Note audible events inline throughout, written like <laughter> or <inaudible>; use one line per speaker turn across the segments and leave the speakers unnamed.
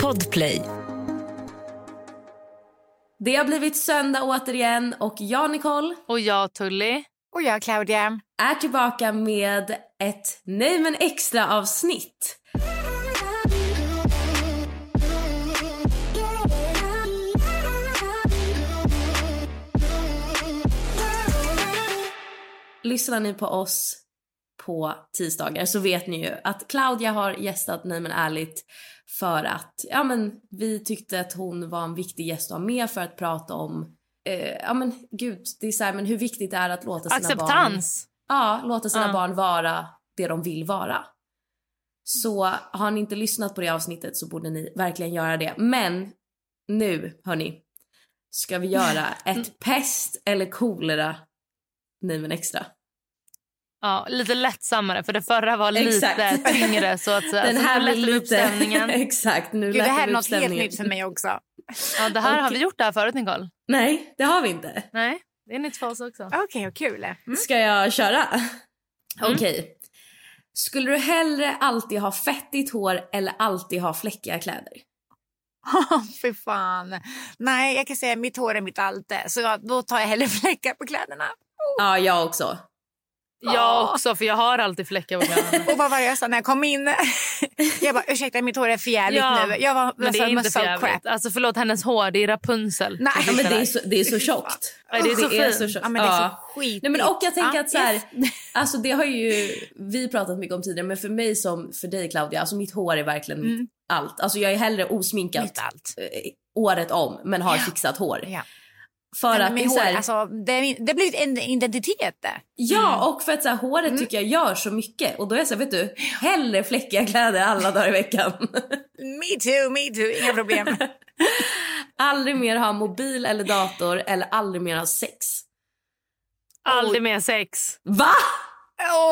Podplay.
Det har blivit söndag återigen och jag Nicole
Och jag Tully.
Och jag Claudia.
är tillbaka med ett Nej men extra avsnitt. Lyssnar ni på oss på tisdagar så vet ni ju att Claudia har gästat Nej men ärligt för att ja, men, vi tyckte att hon var en viktig gäst att ha med för att prata om eh, ja men gud, det är så här, men hur viktigt det är att låta sina barn
Acceptans.
Ja, låta sina
Ja.
barn vara det de vill vara. Så har ni inte lyssnat på det avsnittet så borde ni verkligen göra det. Men nu, hörni, ska vi
<laughs>
göra ett pest eller kolera nej men extra.
Alltså,
Ja, lite lättsammare för det förra var
Exakt.
lite tyngre så att säga.
<laughs> Den
Så
här
nu lättar
blir
vi upp
lite... <laughs>
stämningen.
Exakt, nu
Gud, det
lättar
här
vi
är
upp
något helt
stämningen.
nytt för mig också.
Ja, det här har
Okej.
vi gjort det här förut Nicole.
Nej, det har vi inte.
Nej, det är nytt för oss också.
Okej, vad kul. Mm.
Ska jag köra? Okej. Skulle du hellre alltid ha fettigt hår eller alltid ha fläckiga kläder?
<laughs> Fy fan. Nej, jag kan säga mitt hår är mitt alte, så jag- då tar jag hellre <laughs> fläckar på kläderna.
Ja, jag också.
Jag också för jag har alltid fläckar
<laughs>
på kläderna.
Och vad var det jag sa när jag kom in? <laughs> jag bara, ursäkta mitt hår är för jävligt
Ja,
nu. Jag var
Men det är inte för jävligt. Alltså förlåt hennes hår, det är Rapunzel.
Nej.
Ja, men det, är så, det är så tjockt.
Ja, det är så fint.
tjockt.
Ja, men det är så
Ja.
skitigt.
Nej, men och jag tänker
Ja,
att så här,
yes. <laughs>
alltså det har ju vi pratat mycket om tidigare men för mig som för dig Claudia, alltså mitt hår är verkligen mitt allt. Alltså jag är hellre osminkad
Mm. Mitt allt.
eh, året om men har
Ja.
fixat hår.
Ja.
För
Nej,
att
men
det
mitt
är så
hår,
här,
alltså, det, det har blivit en identitet. det. mm.
ja och för att så här, håret tycker jag gör så mycket och då är jag så här, vet du, hellre fläckiga kläder alla dagar i veckan. <laughs>
Me too, me too. Inga problem.
aldrig mer ha mobil eller dator eller aldrig mer ha sex.
Aldrig mer sex.
Va?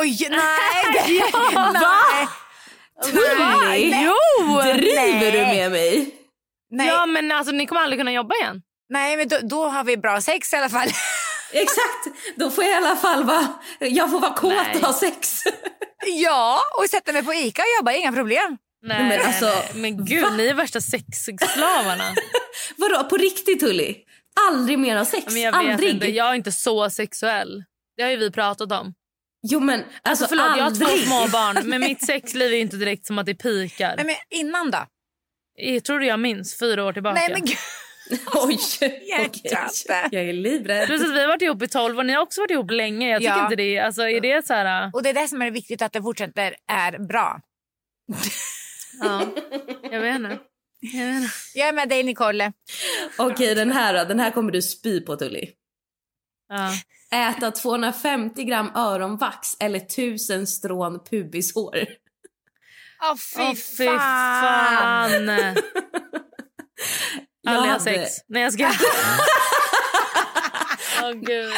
Oj, <laughs> nej! <laughs> Det, nej.
Tully!
Jo!
Driver du
Nej.
med mig?
Nej,
Ja men alltså ni kommer aldrig kunna jobba igen.
nej, men då, då har vi bra sex i alla fall.
Exakt, då får jag i alla fall vara, jag får vara kåt
Nej.
och ha sex.
<laughs> ja, och sätta mig på Ica och jobba, inga problem.
Nej,
Men
men,
alltså,
nej. men gud ni är värsta sexslavarna.
Vadå, på riktigt Tully? Aldrig mer ha sex?
men jag vet
aldrig?
inte, jag är inte så sexuell. Det har ju vi pratat om.
Jo men alltså,
Alltså, förlåt, jag har
aldrig.
två små barn men mitt sexliv är inte direkt som att det pikar.
Nej, men innan då?
Jag tror jag minns fyra år tillbaka.
Nej, men gud.
<laughs> Oj,
Hjärtat.
okej. Jag är livrädd.
Plus att vi har varit ihop i 12 och ni har också varit ihop länge. Jag tycker
Ja.
inte det. Alltså är det så här...
Och det är det som är viktigt, att det fortsätter är bra. <laughs>
Ja. Jag vet inte. Jag vet inte.
Jag är med dig, Nicole.
Okej den här då, den här kommer du spy på Tully.
Ja.
Äta 250 gram öronvax eller 1000 strån pubishår.
Åh, fy,
Åh, fy
fan!
fan.
Jag
Aldrig ha
hade-
sex. Nej jag ska. Åh gud.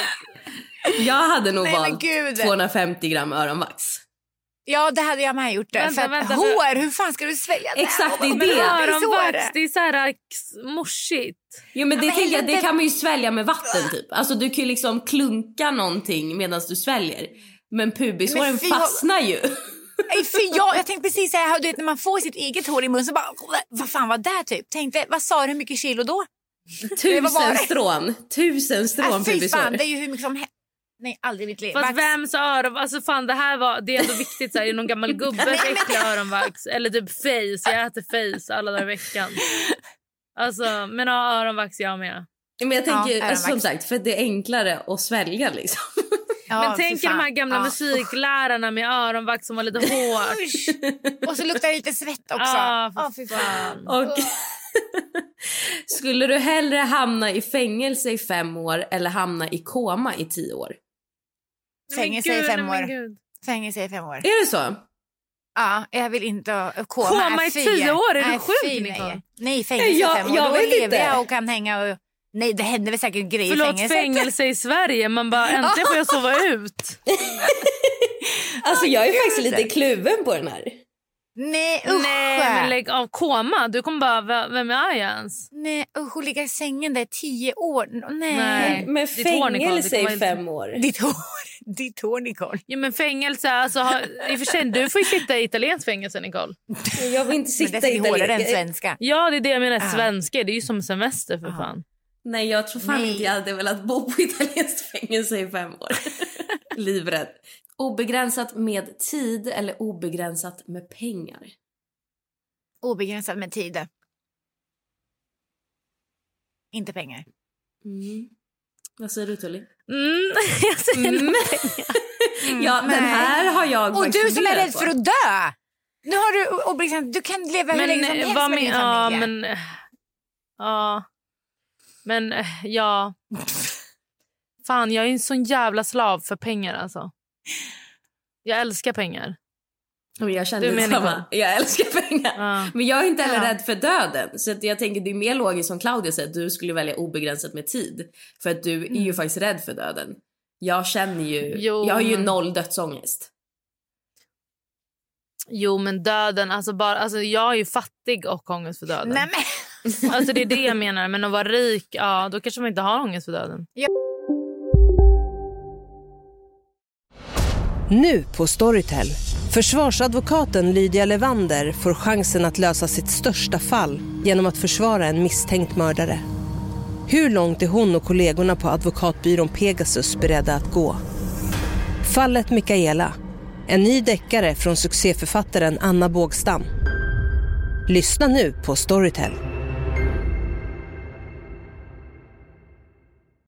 Jag hade nog
Nej, men
valt
gud.
250 gram öronvax.
Ja, det hade jag med gjort. det.
Vänta,
för att
vänta, för-
hår, hur fan ska du svälja det?
Exakt, det är
Men
det.
öronvax,
Det
det är så här äh, k- morsigt.
Jo men det,
men
tänker jag, det
helvete.
kan man ju svälja med vatten typ. Alltså du kan ju liksom klunka någonting medan du sväljer. Men pubishåren
Men fy, vad-
fastnar
<laughs>
ju.
Nej, för jag, jag tänkte precis säga, här, du vet, när man får sitt eget hår i munnen så bara, vad fan var det typ? Tänkte, vad sa du, hur mycket kilo då? var
Tusen
bara-
strån. Tusen strån
Äh, fy fan,
pubishår.
det är ju hur mycket som helst. Nej, aldrig i mitt liv.
Fast
Vax-
vems öron... Alltså fan, det här var... Det är ändå viktigt. Så här, är det
<laughs>
någon gammal gubbe med äcklig öronvax? Eller typ face. Jag äter face alla dagar i veckan. Alltså, men ja, öronvax jag med.
Men jag
Ja,
tänker,
öronvax.
alltså, som sagt, för det är enklare att svälja liksom.
Ja,
men
fy
tänk er
fan.
de här gamla
Ja.
musiklärarna med öronvax som
<laughs>
var lite hårt.
Usch. <laughs> Och så luktar det lite
<laughs>
svett också.
Ja,
Ja,
för
fy fan.
Och <laughs> skulle du hellre hamna i fängelse i fem år eller hamna i koma i tio år?
Fängelse i fem
nej, men
år.
gud.
Fängelse i fem år.
Är det så?
Ja, jag vill inte ha koma.
Koma
Nej,
i
fy,
tio år? Är du
nej,
sjuk,
fy,
Nicole?
Nej, nej fängelse i
Jag-
fem år.
jag
Då
vet
lever
inte.
jag och kan hänga och... Nej, det händer väl säkert grejer i
Förlåt,
fängelset.
fängelse i Sverige.
<laughs>
Man bara, äntligen får jag sova ut.
Alltså jag är faktiskt lite kluven på den här.
Nej, usch.
Nej, men lägg av. Koma? Du kommer bara, "Va- vem är jag ens?
Nej, usch, och ligga i sängen där i tio år. N- Nej.
Nej.
Men
Ditt hår, Nicole, det
fängelse
kommer
i
inte-
fem år?
Ditt hår, <laughs> ditt hår Nicole.
Ja, men fängelse, alltså, har, i och för sig, du får ju sitta i italienskt fängelse, Nicole.
Jag vill inte
Men det
sitta i
är hårdare än
italienska.
svenska.
Ja, det är det jag menar.
Ja.
Svenskar, det är ju som semester för
Ja.
fan.
Nej jag tror fan
Nej.
inte jag hade velat bo på italienskt fängelse i fem <laughs> år. Livrädd. Obegränsat med tid eller obegränsat med pengar?
Obegränsat med tid. Inte pengar.
Mm. Vad säger du Tully?
Mm, <laughs> jag säger nog-
ja
Mm, nej.
den här har jag
Och
faktiskt
du som är
funderat
rädd
på.
för att dö! Nu har du obegränsat, du kan leva
<laughs>
hur länge som helst med
vad men-
din
ja,
familj.
men, eh, ja. Men eh, ja... Fan, jag är en sån jävla slav för pengar. alltså. Jag älskar pengar.
Men jag
Du
känner
menar
samma. Jag älskar pengar.
Ja.
Men jag är inte heller
Ja.
rädd för döden. Så att jag tänker det är mer logiskt som Claudia säger att du skulle välja obegränsat med tid. För att du är ju
Mm.
faktiskt rädd för döden. Jag känner ju,
Jo,
jag har ju
men-
noll dödsångest.
Jo, men döden... Alltså bara, alltså, jag är ju fattig och ångest för döden.
Nej, men... <laughs>
Alltså Det är det jag menar. Men att vara rik, ja, då kanske man inte har ångest för döden.
Nu på Storytel. Försvarsadvokaten Lydia Levander får chansen att lösa sitt största fall genom att försvara en misstänkt mördare. Hur långt är hon och kollegorna på advokatbyrån Pegasus beredda att gå? Fallet Mikaela. En ny deckare från succéförfattaren Anna Bågstam. Lyssna nu på Storytel.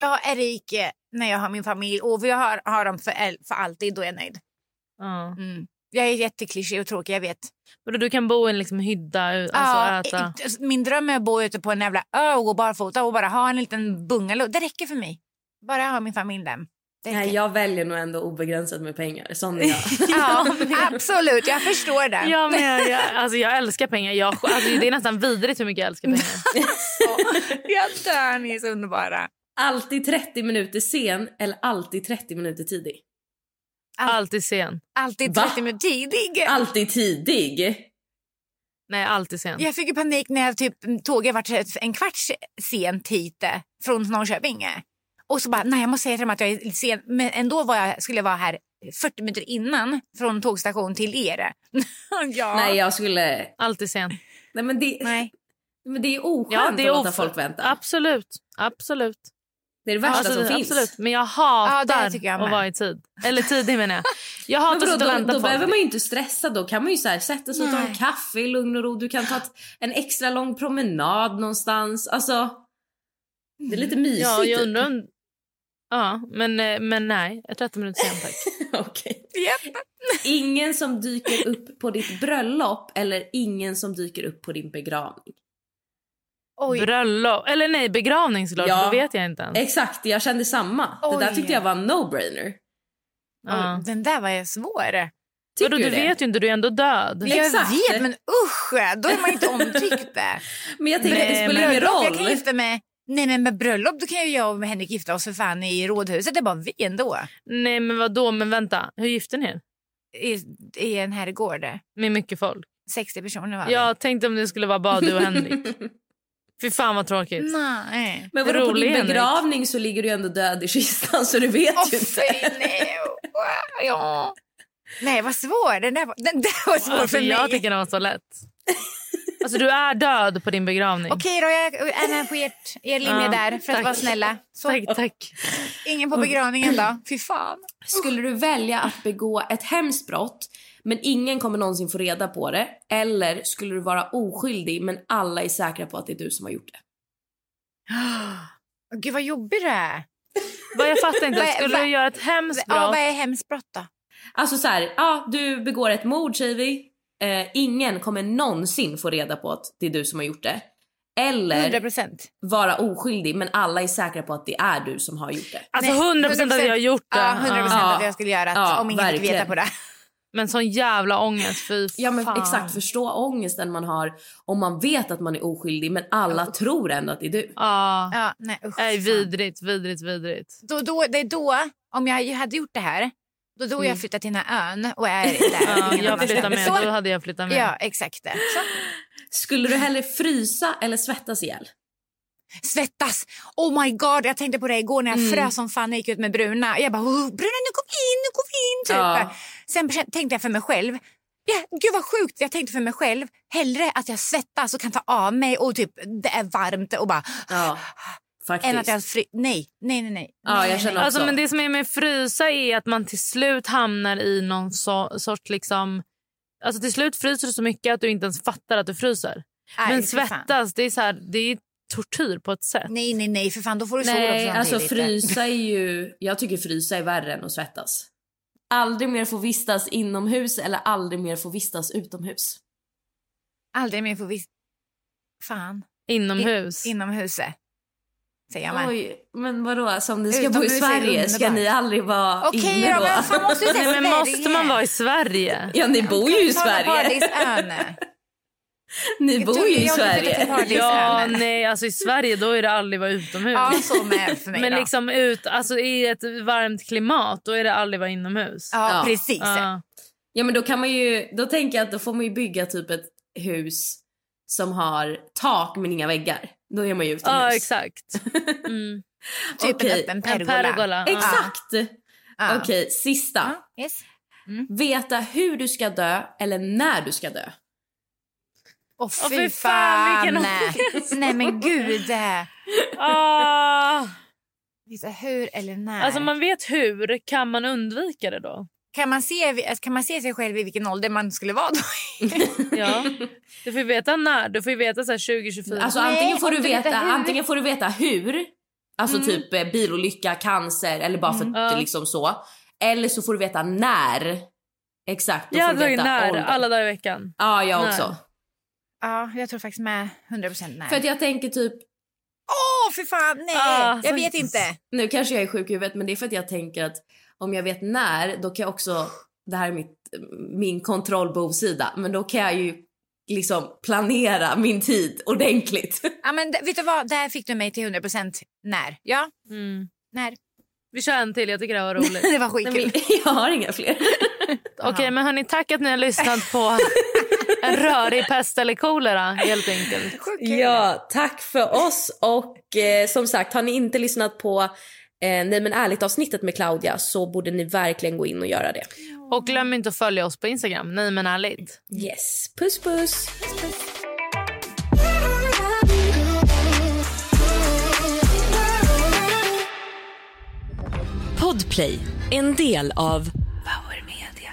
Jag är rik eh, när jag har min familj och jag har, har dem för, el- för alltid. Då är jag nöjd.
Ja.
Mm. Jag är jätteklyschig och tråkig, jag vet.
Men Du kan bo i en liksom, hydda alltså,
Ja,
äta.
i- i- Min dröm är att bo ute på en jävla ö och gå barfota och bara ha en liten bungalow. Det räcker för mig. Bara ha min familj där. Det räcker.
Nej, jag väljer nog ändå obegränsat med pengar. Sån är jag.
<laughs>
<laughs>
Ja, absolut, jag förstår det.
Ja, men jag, jag, alltså, jag älskar pengar. Jag, alltså, det är nästan vidrigt hur mycket jag älskar pengar.
<laughs> Jag dör, ni är så underbara.
alltid 30 minuter sen eller alltid 30 minuter tidig? <laughs>
Alltid sen.
Alltid
Va? Ah.
30 minuter tidig.
Alltid tidig?
Nej, alltid sen.
Jag fick ju panik när jag typ, tåget var en kvarts sent hit eh, från Norrköping. Och så bara, nej jag måste säga till dem att jag är lite sen. Men ändå var jag, skulle jag vara här 40 minuter innan från tågstation till er. <laughs> ja.
Nej, jag skulle...
Alltid sen.
Nej, men det,
Nej.
Men det är oskönt
Ja, det är
att låta
of-
folk vänta.
Absolut. Absolut.
Det är det värsta
Alltså,
som finns.
absolut. Men jag
Ja, det
hatar
tycker jag
att
med.
vara i tid. Eller tidig menar jag. Jag
Men
hatar
vadå,
att sitta och
då,
vänta
då
på
behöver
folk.
man ju inte stressa. Då kan man ju så här sätta sig och ta en kaffe i lugn och ro. Du kan ta ett, en extra lång promenad någonstans. Alltså, det är lite mysigt.
Mm. Ja, jag
typ.
undrar om... Ja, men, eh, men nej. 30 minuter sen tack.
<laughs> Okej. Ingen som dyker upp på ditt bröllop eller ingen som dyker upp på din begravning.
Oj.
Bröllop. Eller nej, begravning såklart.
Ja.
Då vet jag inte ens.
Exakt, jag kände samma. Det där
Oj.
tyckte jag var en no-brainer.
Ja.
Den där var ju svår.
Tycker
Vadå, du
det?
vet ju inte, du är ändå död.
Nej. Exakt.
Jag vet, men usch! Då är man inte omtyckt.
<laughs> Men jag tänker att det
Nej,
spelar ingen
Bröllop, Eh, Jag
roll.
kan gifta mig Nej men med bröllop då kan ju jag och Henrik gifta oss för fan i rådhuset. Det är bara vi ändå.
Nej men vad då? men vänta. Hur gifte ni er?
I, i en herrgård.
Med mycket folk?
60 personer var vi.
Jag tänkte om det skulle vara bara du och Henrik. Fy fan vad tråkigt. <laughs>
Nej.
Typ.
Men vadå, på
Rolig,
din
Henrik.
begravning så ligger du ju ändå död i kistan så du vet
Åh
ju inte.
fy nej. Wow, ja. Nej vad svår. Den där var, den där var svår
Alltså,
för
jag
mig.
tycker det var så lätt. Alltså du är död på din begravning.
Okej då, jag är med på ert, er linje
Ja,
där för att
tack.
vara snälla. Så,
Tack, tack.
ingen på begravningen då. Fy fan.
<laughs>
<gasps>
Skulle du välja att begå ett hemskt brott men ingen kommer någonsin få reda på det eller skulle du vara oskyldig men alla är säkra på att det är du som har gjort det?
Gud vad jobbig du är.
Vad jag fattar inte.
Va-
Skulle
va-
du göra ett hemskt
Ja,
brott?
vad är hemskt brott då?
Alltså så här, ja du begår ett mord säger vi. Eh, ingen kommer någonsin få reda på att det är du som har gjort det. Eller
100 procent.
vara oskyldig men alla är säkra på att det är du som har gjort det.
Alltså
Nej,
100 procent att jag har gjort det.
Ja, 100 procent
Ja.
att jag skulle göra att,
Ja,
om ingen fick
verkligen.
veta på det. <laughs>
Men sån jävla ångest. Fy
Ja men
fan.
exakt, förstå ångesten man har om man vet att man är oskyldig men alla tror ändå att det är du.
Ja.
Ja, nej, usch,
Nej,
fan.
vidrigt, vidrigt, vidrigt.
då, då, det är då, om jag hade gjort det här, då, då jag flyttat till den här ön och är där.
Ja,
ingen
jag
annanstans.
flyttar med. Då
Så,
hade jag flyttat med.
ja, exakt. det. Så.
Skulle du hellre frysa eller svettas ihjäl?
Svettas! Oh my god, jag tänkte på det igår när jag frös som fan när jag gick ut med Bruna. Jag bara, oh, Bruna nu går vi in, nu går vi in! Typ.
Ja.
Sen kän- tänkte jag för mig själv, ja, gud vad sjukt, jag tänkte för mig själv, hellre att jag svettas och kan ta av mig och typ det är varmt och bara,
Ja, faktiskt.
än att jag fry... Nej, nej, nej. nej.
Ja,
nej,
jag känner
nej.
Alltså,
också.
men det som är med frysa är att man till slut hamnar i någon so- sorts... liksom... Alltså Till slut fryser du så mycket att du inte ens fattar att du fryser.
Nej,
men
fy fan.
svettas, det är, så här, det är tortyr på ett sätt.
Nej, nej, nej, för fan, då får du sol
Nej,
också
alltså
samtidigt.
frysa är ju... Jag tycker frysa är värre än att svettas. Aldrig mer få vistas inomhus eller aldrig mer få vistas utomhus.
Aldrig mer får vi... Fan.
Inomhus.
Inomhuset. Säger jag med.
Oj, men vadå? Som ni ska bo i
Utomhus är
Sverige ska
underbart.
ni aldrig vara
Okej
inne
då,
då?
men fan måste vi säga
Nej, men måste man vara i Sverige?
<laughs> Ja, ni bor ju i Sverige.
Paradisön.
<laughs> Ni bor ju i
Jag tror vi flyttar till
Sverige.
Paradisön.
Ja, nej, alltså i Sverige då är det aldrig vara utomhus.
Ja, så med för mig
men
då.
liksom ut, alltså i ett varmt klimat då är det aldrig vara inomhus.
ja,
Ja.
precis.
Ja.
Ja men då kan man ju, då tänker jag att då får man ju bygga typ ett hus som har tak men inga väggar. Då är man ju utomhus.
Ja, exakt. Mm.
Typ
Okej,
en öppen
en
pergola.
pergola. Ja.
Ah. Exakt!
Ja.
Okej, sista.
Ja, yes. Mm.
Veta hur du ska dö eller när du ska dö.
Åh, fy,
Åh, fy fan,
fan!
vilken
Nej, men gud.
Ah,
Visa hur eller när?
<laughs> alltså man vet hur, kan man undvika det då?
kan, man se, alltså, kan man se sig själv i vilken ålder man skulle vara då?
<laughs> Ja. Du får ju veta när, du får ju veta så här 2024.
Alltså
Nej,
antingen, får
om
du
du vet
veta,
hur.
antingen får du veta hur, alltså typ eh, bilolycka, cancer eller bara för att
Ja.
det liksom så. Eller så får du veta när. Exakt, då
jag
får du
hade tagit
veta
alltså, när
ålder.
alla dagar i veckan.
Ja, jag
När.
också.
Ja, jag tror faktiskt med 100 procent när.
För att jag tänker typ
Åh, fy fan! Nej,
Ah,
jag
så-
vet inte.
Nu kanske jag är sjuk i huvudet men det är för att jag tänker att om jag vet när då kan jag också, det här är mitt, min kontrollbovsida, men då kan jag ju liksom planera min tid ordentligt.
Ja, men, d- vet du vad? Där fick du mig till 100 procent när. Ja,
Mm.
när. <laughs>
Vi kör en till, jag tycker det här var roligt.
Det var
Nej,
skitkul.
men <laughs> jag har inga fler.
<laughs> Okej men hörni, tack att ni har lyssnat på en rörig pest eller kolera helt enkelt.
Sjukt kul.
Ja, tack för oss och eh, som sagt har ni inte lyssnat på eh, Nej men ärligt avsnittet med Claudia så borde ni verkligen gå in och göra det.
Och glöm inte att följa oss på Instagram, nej men ärligt.
Yes, puss puss!
Podplay, en del av Power Media.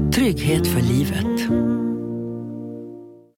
trygghet för livet.